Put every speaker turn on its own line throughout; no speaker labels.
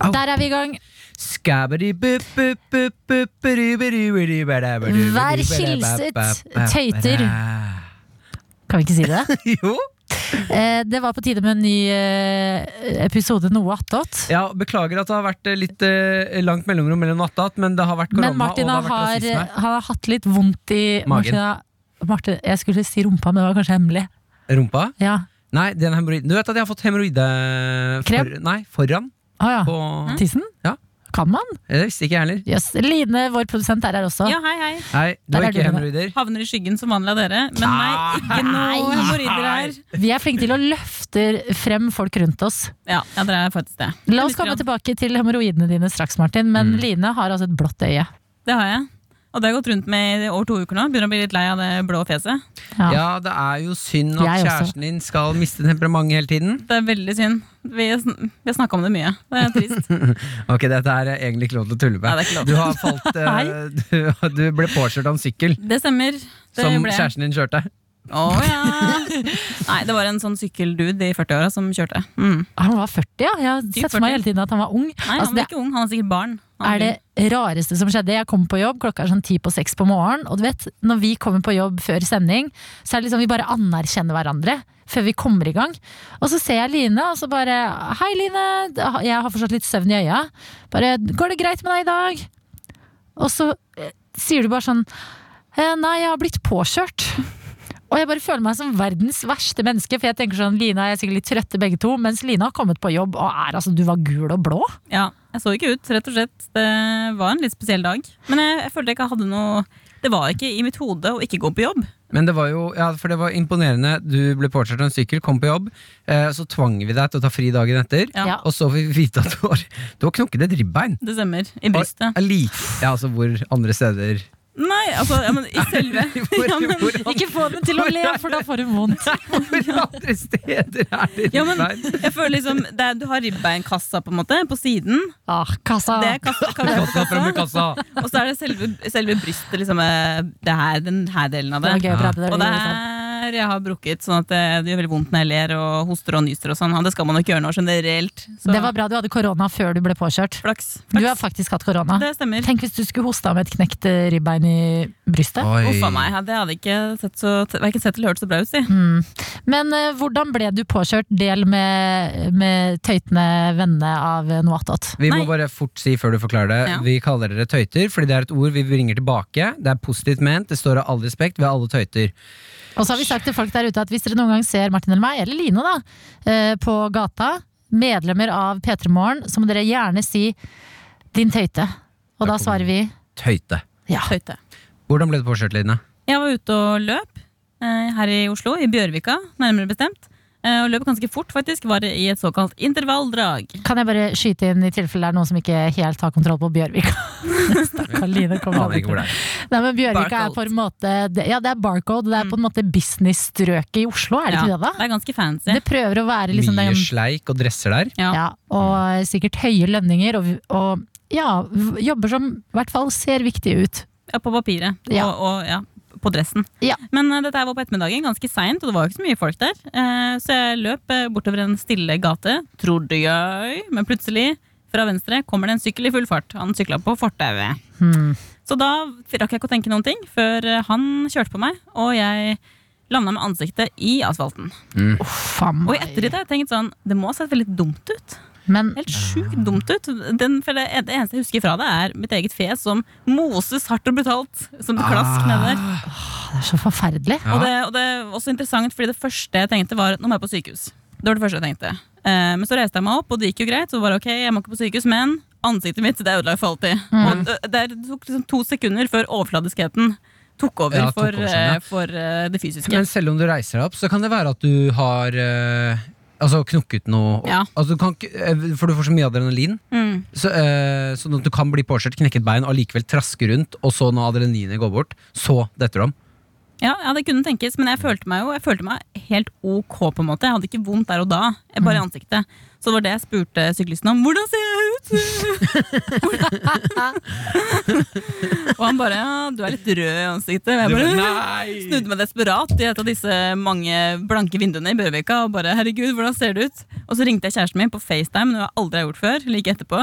Au.
Der er vi i gang.
Vær
Vær hilset, tøyter. Kan vi ikke si det?
Jo.
Eh, det var på tide med en ny eh, episode Noe attåt.
Ja, beklager at det har vært eh, litt eh, langt mellomrom mellom nattat, men det har vært korona
Men Martin
og det har
har,
vært
har,
rasisme.
hatt litt vondt i
Magen.
Martin, har- Martin, jeg skulle si rumpa, men det var kanskje hemmelig.
Rumpa?
Ja.
Nei, den hemoroiden. Du vet at jeg har fått hemoroide eh, for,
Krem?
Nei, foran
Å ja.
på
Tissen?
Ja.
Kan man?
Det visste ikke jeg heller.
Jøss. Line, vår produsent, er her også.
Ja, hei, hei.
Nei, du
Der
har
er
ikke
du med.
hemoroider.
Havner i skyggen som vanlig av dere. Men
Ah.
nei, ikke noe hemoroider her.
Vi er flinke til å løfte frem folk rundt oss.
Ja, ja, dere er faktisk det.
La oss
Litt
komme
grann.
tilbake til hemoroidene dine straks, Martin, men Line har altså et blått øye.
Det har jeg. Og det har jeg gått rundt med i over to uker nå. Begynner å bli litt lei av det blå fjeset.
Ja.
Ja, det er jo synd at
Jeg også.
kjæresten din skal miste temperamentet hele tiden.
Det er veldig synd. Vi, sn- vi har snakka om det mye. Det er trist.
Ok, dette er egentlig ikke lov til å tulle med.
Nei, det er ikke lov.
Du har falt eh,
Nei.
du, du ble påkjørt av en sykkel
Det stemmer. Det
som
ble-
kjæresten din kjørte.
Å ja. Nei, det var en sånn sykkeldude i 40-åra som kjørte. Mm.
Han var 40, ja. Jeg har
Typ
sett for meg
40.
hele tiden at han var ung.
Nei,
Altså,
han var
det
ikke ung. Han var sikkert barn. Han
er det rareste som skjedde. Jeg kom på jobb, klokka er sånn ti på seks på morgenen. Og du vet, når vi kommer på jobb før sending, så er det liksom vi bare anerkjenner hverandre før vi kommer i gang. Og så ser jeg Line, og så bare Hei, Line. Jeg har fortsatt litt søvn i øya. Bare Går det greit med deg i dag? Og så eh, sier du bare sånn «Eh, Nei, jeg har blitt påkjørt. Og jeg bare føler meg som verdens verste menneske, for jeg tenker sånn Line er sikkert litt trøtte begge to, mens Line har kommet på jobb og er altså Du var gul og blå.
Ja, jeg så ikke ut, rett og slett. Det var en litt spesiell dag. Men jeg, jeg følte jeg ikke hadde noe Det var ikke i mitt hode å ikke gå på jobb.
Men det var jo, ja, for det var imponerende. Du ble påkjørt av en sykkel, kom på jobb. Eh, så tvang vi deg til å ta fri dagen etter.
Ja.
Ja.
Og så fikk vi vite at du har, du har knukket et ribbein.
Det stemmer. I brystet.
Og er lik- ja, altså hvor andre steder
Nei, altså, ja, men i selve
Hvor,
ja, men,
hvor,
Ikke få den til å le, for da får hun vondt.
hvor andre steder er det
ja, men
ribbein?
jeg føler liksom det er, Du har ribbeinkassa på en måte, på siden.
Ah, kassa.
Det er kassa,
Kassa frem med
kassa.
kassa.
Og så er det selve, selve brystet, liksom. eh, Det her, den her delen av
Det
det.
var gøy å prate
Og
om
det
det.
er jeg har brukket, sånn at det, det gjør veldig vondt når jeg ler og hoster og nyser og sånn. Og det skal man jo ikke gjøre nå generelt. Så
Det var bra du hadde korona før du ble påkjørt.
flaks.
Du
flaks.
har faktisk hatt korona.
Det stemmer.
Tenk hvis du skulle hoste av med et knekt eh, ribbein i brystet.
Uff a meg, det hadde ikke sett så, verken sett eller hørt så bra ut, si.
Men eh, hvordan ble du påkjørt? Del med, med tøytende vennene av eh, Noatot.
Vi må
Nei.
bare fort si før du forklarer det.
Ja.
Vi kaller dere tøyter, fordi det er et ord vi bringer tilbake. Det er positivt ment, det står av all respekt ved alle tøyter.
Og så har vi sagt til folk der ute at hvis dere noen gang ser Martin eller meg, eller Line da, eh, på gata, medlemmer av P3 Morgen, så må dere gjerne si 'din tøyte'. Og da svarer vi
Tøyte.
ja.
Høyte.
Hvordan ble du påkjørt, Line?
Jeg var ute og løp eh, her i Oslo, i Bjørvika, nærmere bestemt. Eh, og løp ganske fort, faktisk. Var i et såkalt intervalldrag.
Kan jeg bare skyte inn i tilfelle det er noen som ikke helt har kontroll på Bjørvika? Stakkar Line kommer
Aner ikke hvor det er.
Nei, men Bjørvika er
Barcode. Mm.
på en måte det- Ja, det er barcode. Det er på en måte business-strøket i Oslo, er det
Ja,
ikke det, da?
det er ganske fancy.
Det prøver å være liksom
Mye Mm.
den
sleik og dresser der.
Ja.
ja, Og sikkert høye lønninger, og, og ja, v- jobber som i hvert fall ser viktige ut.
Ja, på papiret.
Ja.
Og, og ja, på dressen.
Ja.
Men eh, dette her var på ettermiddagen, ganske seint, og det var jo ikke så mye folk der. Eh, så jeg løp eh, bortover en stille gate, trodde jeg, men plutselig, fra venstre, kommer det en sykkel i full fart. Han sykla på fortauet.
Hmm.
Så da rakk jeg ikke å tenke noen ting før eh, han kjørte på meg, og jeg landa med ansiktet i asfalten.
Mm.
Uff a
Og i ettertid
meg.
har jeg tenkt sånn Det må ha sett veldig dumt ut.
Men
Helt sjukt dumt ut. Den, for det, det eneste jeg husker fra det, er mitt eget fjes som moses hardt og brutalt. Som et klask ned der.
det er så forferdelig.
Ah. Ja.
Og det, og det er også interessant, fordi det første jeg tenkte var Nå må jeg på sykehus. Det var det første jeg tenkte. Eh, men så reiste jeg meg opp, og det gikk jo greit. Så var det ok, jeg må ikke på sykehus, men ansiktet mitt det er ødelagt for alltid.
Mm.
Og det, det er- det tok liksom to sekunder før overfladiskheten tok over
Ja, tok
for,
over sånn, ja.
eh, for eh, det fysiske.
Men selv om du reiser deg opp, så kan det være at du har eh, Altså knukket noe.
Ja.
Altså, du kan, ikke- eh, for du får så mye adrenalin.
Mm.
Så, eh, sånn at du kan bli påkjørt, knekke et bein og likevel traske rundt, og så når adrenalinet går bort, så detter du om.
Ja, ja, det kunne tenkes, men jeg følte meg jo jeg følte meg helt
Mm.
ok. på en måte Jeg hadde ikke vondt der og da, jeg bare i ansiktet. Så det var det jeg spurte syklisten om. Hvordan ser jeg ut? Og han bare ja, 'du er litt rød i ansiktet'. Og
Du
jeg
bare,
bare
Nei!
snudde meg desperat i et av disse mange blanke vinduene i Bjørvika og bare 'herregud, hvordan ser det ut?' Og så ringte jeg kjæresten min på FaceTime, noe jeg aldri har gjort før, like etterpå.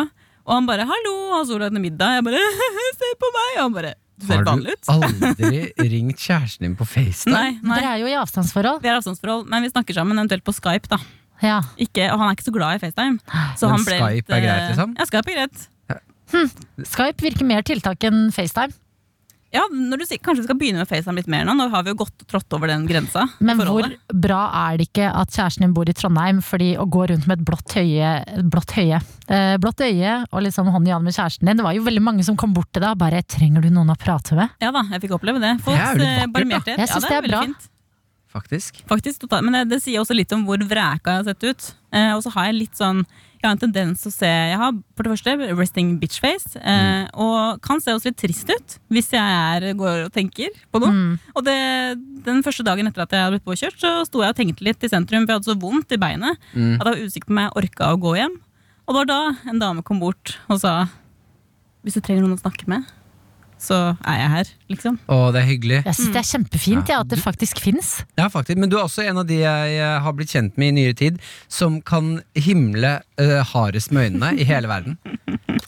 Og han bare 'hallo, har sola lagd middag?' Jeg bare 'se på meg'. Og han bare 'du ser
Har
helt
du
vanlig ut'.
aldri ringt kjæresten din på FaceTime?
Nei, nei.
Dere er jo i avstandsforhold.
Vi har avstandsforhold, men vi snakker sammen, eventuelt på Skype. da
Ja.
ikke, Og han er ikke så glad i FaceTime. Så
Men
han ble
Skype
litt,
er greit,
eh,
liksom?
Ja, Skype er greit.
Skype virker mer tiltak enn FaceTime.
Ja, når du sier, Kanskje vi skal begynne med FaceTime litt mer nå? Nå har vi jo gått og trådt over den grensa. i
Men hvor
forholdet.
bra er det ikke at kjæresten din bor i Trondheim, fordi å gå rundt med et blått høye, blått høye, eh, blått øye og liksom hånd i hånd med kjæresten din, det var jo veldig mange som kom bort til deg og bare 'trenger du noen å prate med'?
Ja da, jeg fikk oppleve det. Folks
Det er jo litt
eh,
vakkert, da.
barmhjertighet.
Jeg
Ja,
synes
det er
det er bra.
veldig fint.
Faktisk.
Faktisk, totalt. Men det, det sier også litt om hvor vreka jeg har sett ut. Eh, og så har jeg litt sånn Jeg har en tendens til å se Jeg har for det første resting bitch-face. Eh, Og kan se også litt trist ut hvis jeg er, går og tenker på noe. Og det, den første dagen etter at jeg hadde blitt påkjørt, så sto jeg og tenkte litt i sentrum, for jeg hadde så vondt i beinet at jeg var usikker på om jeg orka å gå hjem. Og det var da en dame kom bort og sa Hvis du trenger noen å snakke med, så er jeg her, liksom.
Å, det er hyggelig.
Jeg syns det er kjempefint ja, at det faktisk fins.
Ja, faktisk. Men du er også en av de jeg eh, har blitt kjent med i nyere tid, som kan himle eh, hardest med øynene i hele verden.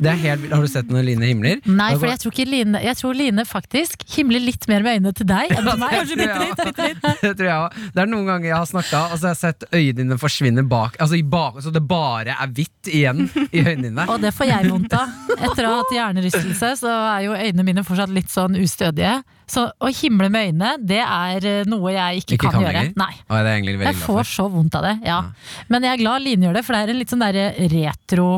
Det er helt, vilt. har du sett når Line himler?
Nei,
Da
for
går-
jeg tror, ikke Line, jeg tror Line faktisk himler litt mer med øynene til deg enn til meg.
Kanskje bitte litt, bitte litt.
det tror jeg også. Det er noen ganger jeg har snakka, og så har jeg sett øynene dine forsvinne bak. Altså i bak Så det bare er hvitt igjen i øynene dine.
Og det får jeg vondt av. Etter å ha hatt hjernerystelse, så er jo øynene mine fortsatt litt sånn ustødige. Så å himle med øynene, det er eh, noe jeg ikke,
Ikke
kan,
kan
gjøre.
lenger?
Nei.
Og det er jeg egentlig veldig
Jeg
glad
får
for.
så vondt av det, ja. Men jeg er glad Line gjør det, for det er en litt sånn der retro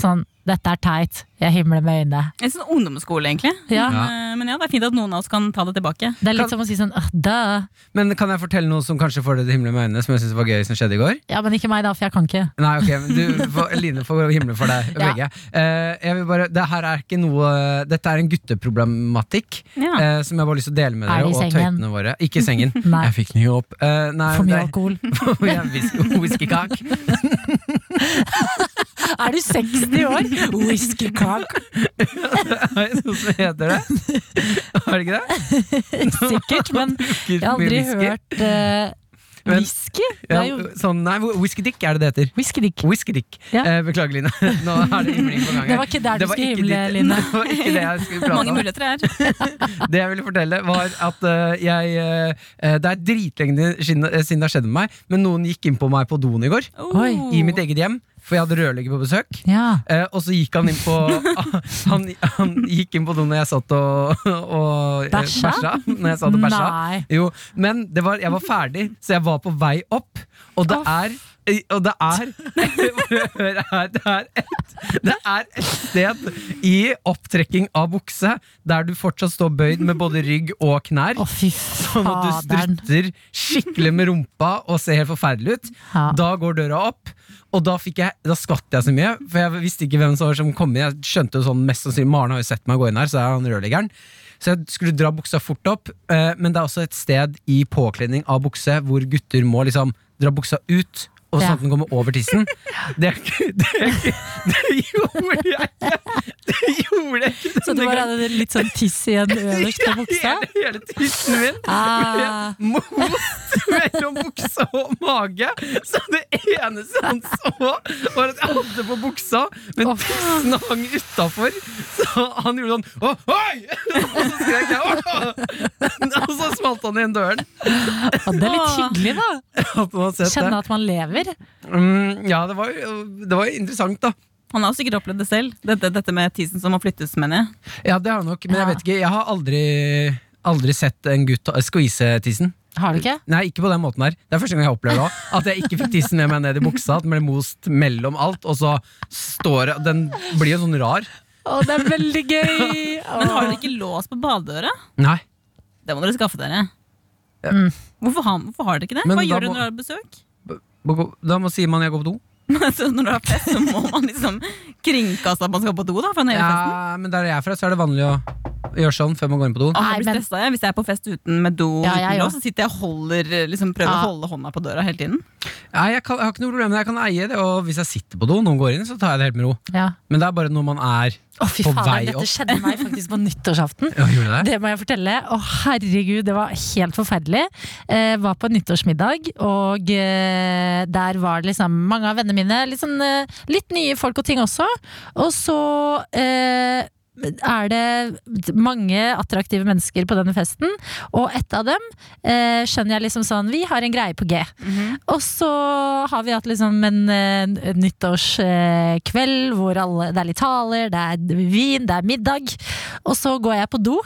sånn 'dette er teit, jeg himler med øynene'.
Litt sånn ungdomsskole, egentlig.
Ja.
Men, eh, men ja, det er fint at noen av oss kan ta det tilbake.
Det er
Kan-
litt som å si sånn «Åh, 'da'.
Men kan jeg fortelle noe som kanskje får deg til å himle med øynene, som jeg synes var gøy som skjedde i går?
Ja, men ikke meg, da, for jeg kan ikke.
Nei, ok, men du, får- Line får himle for deg
Ja.
begge. Eh, jeg vil bare, det her er ikke noe Dette er en gutteproblematikk
Ja.
eh, som jeg bare har lyst til å dele med
Er
dere.
det i
Og
sengen?
tøytene våre Ikke i sengen.
Nei.
Jeg fikk den jo opp. Eh, nei,
For mye
det-
alkohol.
Ja, whisk- Whiskykak.
Er du 60 år? Whiskycock,
Er det noe som heter det? Har det ikke det?
sikkert. Men jeg har aldri hørt eh,
Men-
whisky. Det
ja,
er jo
sånn, Nei, whiskydick er det det heter.
whiskydick.
Whiskydick.
Ja.
Eh, beklager, Line. Nå er det himling på gang.
Det var ikke der du
var
skulle
ikke
himle,
ditt-
Line.
Det var ikke det jeg skulle prate
Mange
om.
muligheter her.
Det jeg ville fortelle var at eh, jeg eh, Det er dritlenge siden eh, siden det har skjedd med meg, men noen gikk inn på meg på doen i går.
Oi.
Oh.
I mitt eget hjem, for jeg hadde rørlegger på besøk.
Ja.
Eh, og så gikk han inn på Han, han gikk inn på doen når jeg satt og, og eh,
Bæsja?
Når jeg satt og bæsja.
Nei.
Jo, men det var, jeg var ferdig, så jeg var på vei opp, og det
Å,
er eh, og det er, hør her, det, er et, det er et sted i opptrekking av bukse der du fortsatt står bøyd med både rygg og knær.
Å, fy
Sånn at du
faderen.
strutter skikkelig med rumpa og ser helt forferdelig ut.
Ja.
Da går døra opp, og da, fikk jeg, da skvatt jeg så mye. For jeg visste ikke hvem som var som kom inn. Jeg skjønte jo sånn mest sannsynlig Maren har jo sett meg gå inn her, så er han rørleggeren. Så jeg skulle dra buksa fort opp, eh, men det er også et sted i påkledning av bukse hvor gutter må liksom dra buksa ut. Og sånn
Ja.
at den kommer over tissen. Det, er ikke- det, er ikke- det gjorde jeg ikke! Det gjorde jeg ikke!
Så du
denne
bare
gangen.
hadde litt sånn tiss igjen øverst på buksa?
Hele, hele tissen min ble
Ah.
most mellom buksa og mage. Så det eneste han så, var at jeg hadde på buksa, men
Åh.
tissen hang utafor. Så han gjorde sånn Å, oi! Og så skrek jeg «Åh!» Og så smalt han igjen døren.
Ja, det er litt hyggelig, da.
At man har sett
Kjenne
det.
at man lever.
Mm, ja, det var, det var interessant, da.
Han har jo sikkert opplevd det selv. Dette, dette med tisen som må flyttes, mener jeg.
Ja, det har han nok, men jeg
Ja.
vet ikke. Jeg har aldri, aldri sett en gutt ta- skvise tissen.
Har du ikke?
Nei, ikke på den måten her. Det er første gang jeg opplever det også, At jeg ikke fikk tissen med meg ned i buksa. At den ble most mellom alt. Og så står jeg Den blir jo sånn rar.
Å, det er veldig gøy!
Men har dere ikke lås på badedøra?
Nei.
Det må dere skaffe dere.
Mm.
Hvorfor, har, hvorfor har dere ikke det?
Men
Hva
da
gjør dere
må-
når dere har besøk?
Da må sier man jeg går på do.
Så når du har fest, så må man liksom kringkaste at man skal på do da, fra den hele festen.
Ja, men der jeg er fra, så er det vanlig å Gjør sånn før man går inn på do.
Åh, jeg
Nei,
blir
men-
stressa jeg. Hvis jeg er på fest uten med do,
Ja,
uten
jeg
lås,
også.
så sitter jeg og holder, liksom, prøver
Ja.
å holde hånda på døra hele tiden.
Nei, jeg, kan, jeg har ikke noe problem med det. Jeg kan eie det, og hvis jeg sitter på do, og noen går inn, så tar jeg det helt med ro.
Ja.
Men det er bare når man er
Å, fy
På
fader,
vei
dette
opp.
skjedde meg faktisk på nyttårsaften.
ja, Gjorde det?
Det må jeg fortelle. Å, herregud, det var helt forferdelig. Eh, var på en nyttårsmiddag, og eh, der var det liksom mange av vennene mine. Litt, sånn, eh, litt nye folk og ting også. Og så eh, er det mange attraktive mennesker på denne festen, og ett av dem eh, skjønner jeg liksom sånn Vi har en greie på G. Og så har vi hatt liksom en eh, nyttårskveld hvor alle, det er litt taler, det er vin, det er middag. Og så går jeg på do.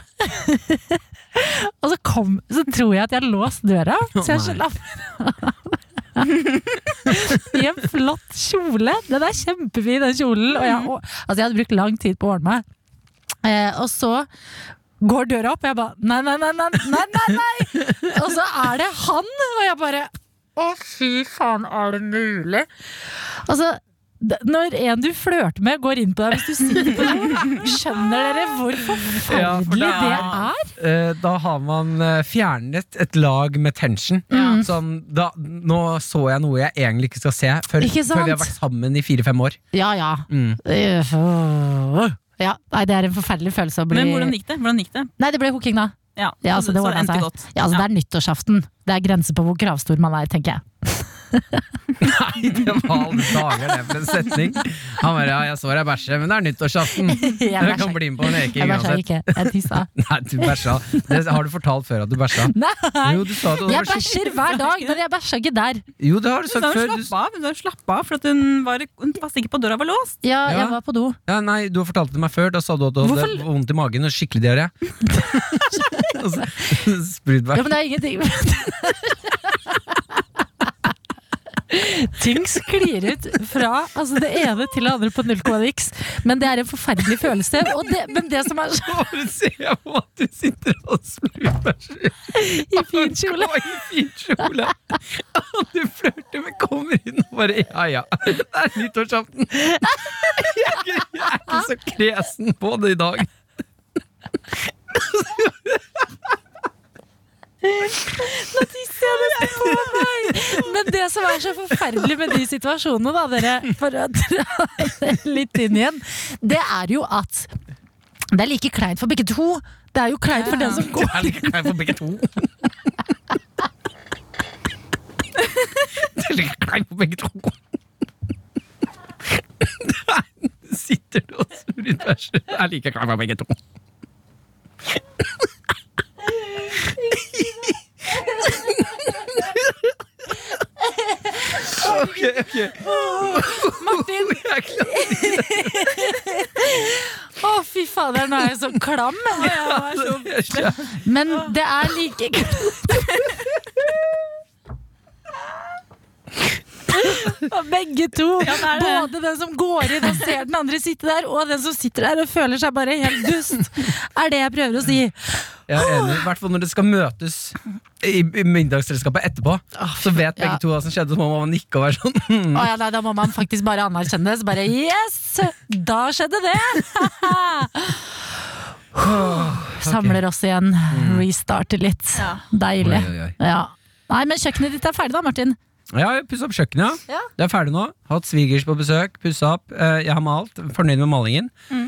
og så, kom, så tror jeg at jeg har låst døra, så jeg
Å, nei.
slapper av. I en flott kjole. Den er kjempefin, den kjolen. Og jeg,
Mhm.
og, altså, jeg hadde brukt lang tid på å ordne meg. Eh, og så går døra opp, og jeg bare nei, nei, nei, nei, nei, nei, nei. Og så er det han, og jeg bare å, fy faen, er det mulig? Altså, d- når en du flørter med, går inn på deg hvis du sitter på do, skjønner dere hvor forferdelig
Ja, for
det
det
er?
Eh, da har man eh, fjernet et lag med tension. Sånn, da, nå så jeg noe jeg egentlig ikke skal se før,
Ikke
før vi har
sant?
vært sammen i fire-fem år.
Ja, ja.
Mm.
Øh, Ja, nei, det er en forferdelig følelse å bli
Men hvordan gikk det? Hvordan gikk det?
Nei, det ble hooking, da.
Ja,
Ja, så det ordnet
endte
seg.
godt.
Ja, altså, Det
Ja.
er nyttårsaften. Det er grenser på hvor kravstor man er, tenker jeg.
Nei, det var alle dager det for en setning! Han bare ja, jeg så deg bæsje, men det er nyttårsaften.
Jeg
Jeg kan bli med på en
Jeg
leking
bæsja
uansett.
ikke. Jeg tissa.
Nei, du bæsja. Det har du fortalt før at du bæsja.
Nei!
Jo, du sa det, og det
Jeg
var skikkelig-
bæsjer hver dag, men jeg bæsja ikke der.
Jo, det har du
Hun
sagt
sa
før.
hun
Du,
slapp av, hun sa hun slapp av for at hun var, hun var sikker på at døra var låst.
Ja,
Ja.
jeg var på do.
ja, nei, du har fortalt det til meg før. Da sa du at du hadde
Hvorfor-
vondt i magen og skikkelig diaré. Og så-
Ja,
Sprudbær.
men det er ingenting Ting sklir ut fra altså det ene til det andre på null komma niks. Men det er en forferdelig følelse. Og det, men det som er så
Bare se på at du sitter og sprudbæsjer.
i fin kjole
Og i fin kjole. Og du flørter med kommer inn og bare ja ja, det er nyttårsaften. Jeg er ikke- jeg er ikke så kresen på det i dag.
Men det som er så forferdelig med de situasjonene, da, dere, for å dra det litt inn igjen, det er jo at det er like kleint for begge to. Det er jo kleint for den som går
Det er litt kleint for begge to. Det er litt kleint for begge to. Der sitter du og sprudbæsjer. Det er like kleint for begge to. Ok, ok. Martin! Jeg er klar.
Å, fy fader, nå er jeg så klam.
Jeg er klar.
Men det er like Og begge to.
Ja, det er det.
Både den som går inn og ser den andre sitte der, og den som sitter der og føler seg bare helt dust. Er det jeg prøver å si.
Jeg er enig, i hvert fall når det skal møtes i i middagsselskapet etterpå. Så vet begge
ja.
to hva som skjedde, så må man nikke og være sånn. «Hm,
Å, ja, nei, da må man faktisk bare anerkjenne det. Så bare yes! Da skjedde det! Samler oss igjen. Restarter litt.
Ja.
Deilig.
Oi, oi, oi.
Ja. Nei, men kjøkkenet ditt er ferdig da, Martin.
Ja, jeg pussa opp kjøkkenet.
Ja.
Det er ferdig nå. Hatt svigers på besøk, pussa opp. Eh, Jeg har malt. Fornøyd med malingen.
Mm.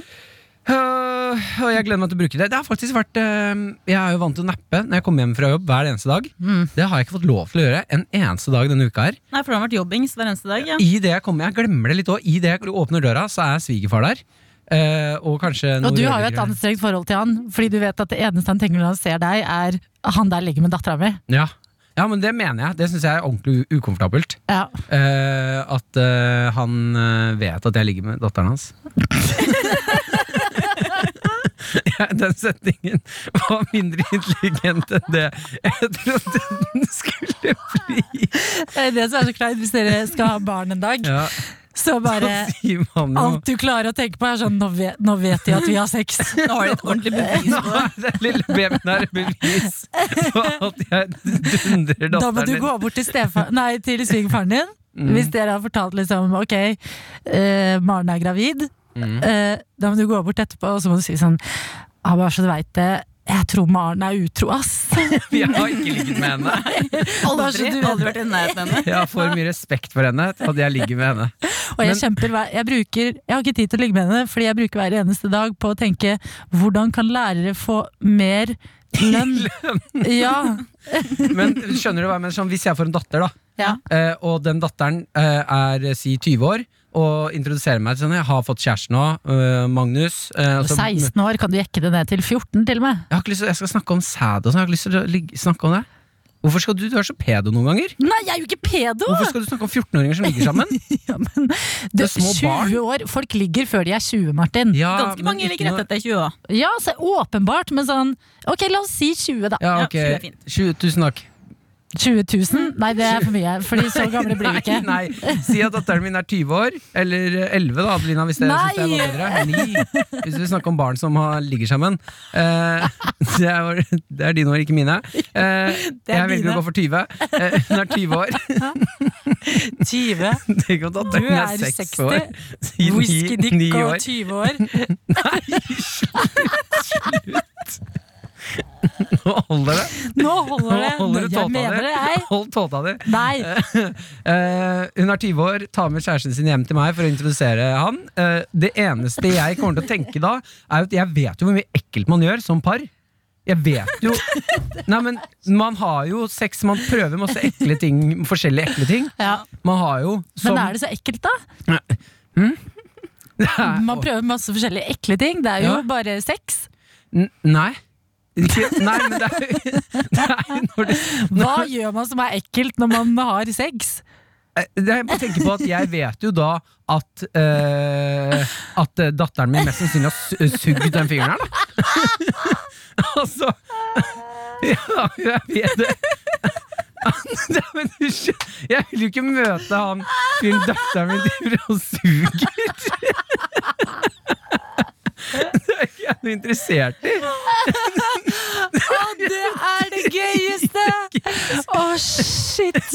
Eh, og jeg gleder meg til å bruke det. Det har faktisk vært eh, Jeg er jo vant til å nappe når jeg kommer hjem fra jobb hver eneste dag.
Mm.
Det har jeg ikke fått lov til å gjøre en eneste dag denne uka her.
Nei, for det har vært jobbings hver eneste dag. Ja.
I det jeg kommer, jeg glemmer det litt òg. I det jeg åpner døra, så er svigerfar der. Eh, og kanskje
Og
noen
du har jo
rødligere-
et anstrengt forhold til han, fordi du vet at det eneste han tenker når han ser deg, er han der ligger med dattera mi.
Ja. ja, men det mener jeg. Det syns jeg er ordentlig u- ukomfortabelt.
Ja.
Eh, at eh, han eh, vet at jeg ligger med datteren hans. Ja, Den setningen var mindre intelligent enn det jeg trodde den skulle bli.
Det som er så kleint hvis dere skal ha barn en dag,
Ja,
så
så
bare
sier man jo
Alt du klarer å tenke på er sånn Nå vet, nå vet de at vi har sex.
Nå har de et ordentlig bevis
Nå
på det.
er det lille babyen her et bevis på at jeg
Da må
dundrer datteren Mm.
du
min.
gå bort til, stefa- nei, til svigerfaren din. Hvis dere har fortalt liksom Ok,
Mm.
eh, Maren er gravid. eh, da må du gå bort etterpå og så må du si sånn Ja, bare så du veit det. Jeg tror Maren er utro, ass.
Jeg har ikke ligget med henne.
Bare så
Aldri,
du vet
aldri vært i nærheten av henne.
Jeg har for mye respekt for henne til at jeg ligger med henne.
Og jeg
Men-
kjemper hver, jeg bruker, jeg har ikke tid til å ligge med henne, fordi jeg bruker hver eneste dag på å tenke hvordan kan lærere få mer lønn? ja.
Men skjønner du hva jeg mener? Sånn, hvis jeg får en datter, da,
ja.
eh, og den datteren eh, er eh, si 20 år, og introduserer meg til sånn, jeg har fått kjæreste nå, eh, Magnus. eh, og så-
16 år kan du jekke det ned til 14 til og med.
Jeg, har ikke lyst til, jeg skal snakke om sæd og sånn. Jeg har ikke lyst til å ligge, snakke om det. Hvorfor skal du, du er så pedo noen ganger?
Nei, jeg er jo ikke pedo!
Hvorfor skal du snakke om 14-åringer som ligger sammen?
Ja, men, du,
Det er små
20
barn.
år, folk ligger før de er 20, Martin. Ja,
Ja,
Ganske
men
mange
ikke
ligger rett
noe-
etter 20 år.
så åpenbart, men sånn Ok, la oss si 20, da.
Ja,
Ja,
ok.
20 er fint.
20, tusen takk.
20 000? Nei, det er for mye, Fordi så gamle blir vi ikke.
Nei, nei. Si at datteren min er 20 år, eller 11 da, Adelina, hvis det
Nei.
synes det er noe bedre. 9. Hvis vi snakker om barn som har, ligger sammen. Eh, det, er, vår- det er dine år, ikke mine. Eh,
Det er
jeg velger
dine.
å gå for 20. Eh, hun er 20 år.
20.
Tenk om datteren er 6 år. Si ni- ni år.
20 år.
Nå holder det.
Nå holder det!
Nå holder
jeg
det tåta
mener det, jeg.
di. Hold tåta di.
Nei.
Eh, hun er 20 år, tar med kjæresten sin hjem til meg for å introdusere han. Eh, det eneste jeg kommer til å tenke da, er jo at jeg vet jo hvor mye ekkelt man gjør som par. Jeg vet jo Nei, men man har jo sex, man prøver masse ekle ting, forskjellige ekle ting.
Ja.
Man har jo
Men er det så ekkelt, da?
Hm?
Man prøver masse forskjellige ekle ting. Det er jo
Ja.
bare sex.
N- Nei. Ikke- Nei, men det er jo det er jo når du
Hva gjør man som er ekkelt når man har sex?
Eh, Jeg må tenke på at jeg vet jo da at eh, At eh, datteren min mest sannsynlig har su- sugd den fingeren her, da. altså Ja, jeg vet det. Nei, men du skjø- Jeg vil jo ikke møte han fyren datteren min driver og suger. Det er ikke jeg noe interessert i.
Å, det er det gøyeste! Å, shit!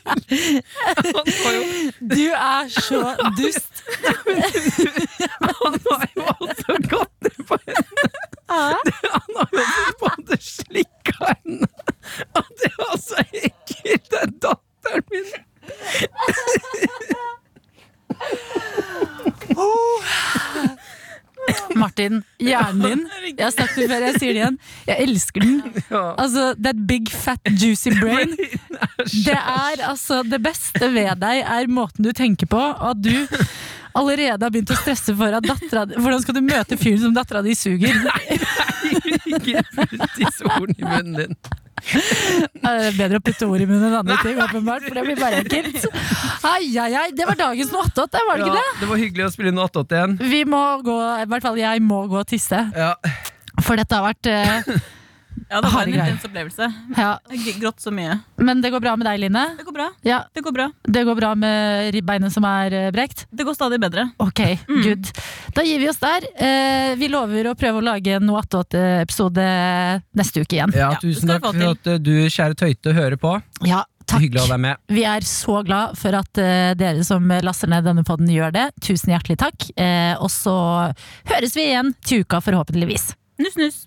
Han var jo
Du er så dust.
Han har jo også gått ned på henne. Han har jo også både slikka henne, og det var så ekkelt, den datteren min.
Martin, hjernen din. Jeg har sagt det før, jeg sier det igjen. Jeg elsker den. Altså, that big fat juicy brain. Det er altså Det beste ved deg er måten du tenker på, og at du allerede har begynt å stresse for at dattera di Hvordan skal du møte fyren som dattera di suger?
Ikke putt disse ordene i munnen din.
Det er bedre å putte ord i munnen enn andre ting, åpenbart, for det blir bare ekkelt. Ai, ai, ai. Det var dagens noe attåt, det, var det
Ja,
ikke det?
det var hyggelig å spille inn 88 igjen.
Vi må gå, i hvert fall jeg må gå og tisse,
Ja.
for dette har vært eh,
Ja, det var en
Herregud.
intens opplevelse.
Ja.
Jeg har Grått så mye.
Men det går bra med deg, Line?
Det går bra.
Ja,
Det går bra.
det går bra med ribbeinet som er eh, brekt?
Det går stadig bedre.
Ok, good. Da gir vi oss der. Eh, vi lover å prøve å lage en noe attåt-episode neste uke igjen.
ja,
Ja, det
tusen
skal
takk
du få
for at eh, du, kjære Tøyte, hører på.
Ja, takk.
Hyggelig å ha deg med.
Vi er så glad for at eh, dere som laster ned denne podden gjør det. Tusen hjertelig takk. Eh, og så høres vi igjen til uka, forhåpentligvis.
Nuss, nuss.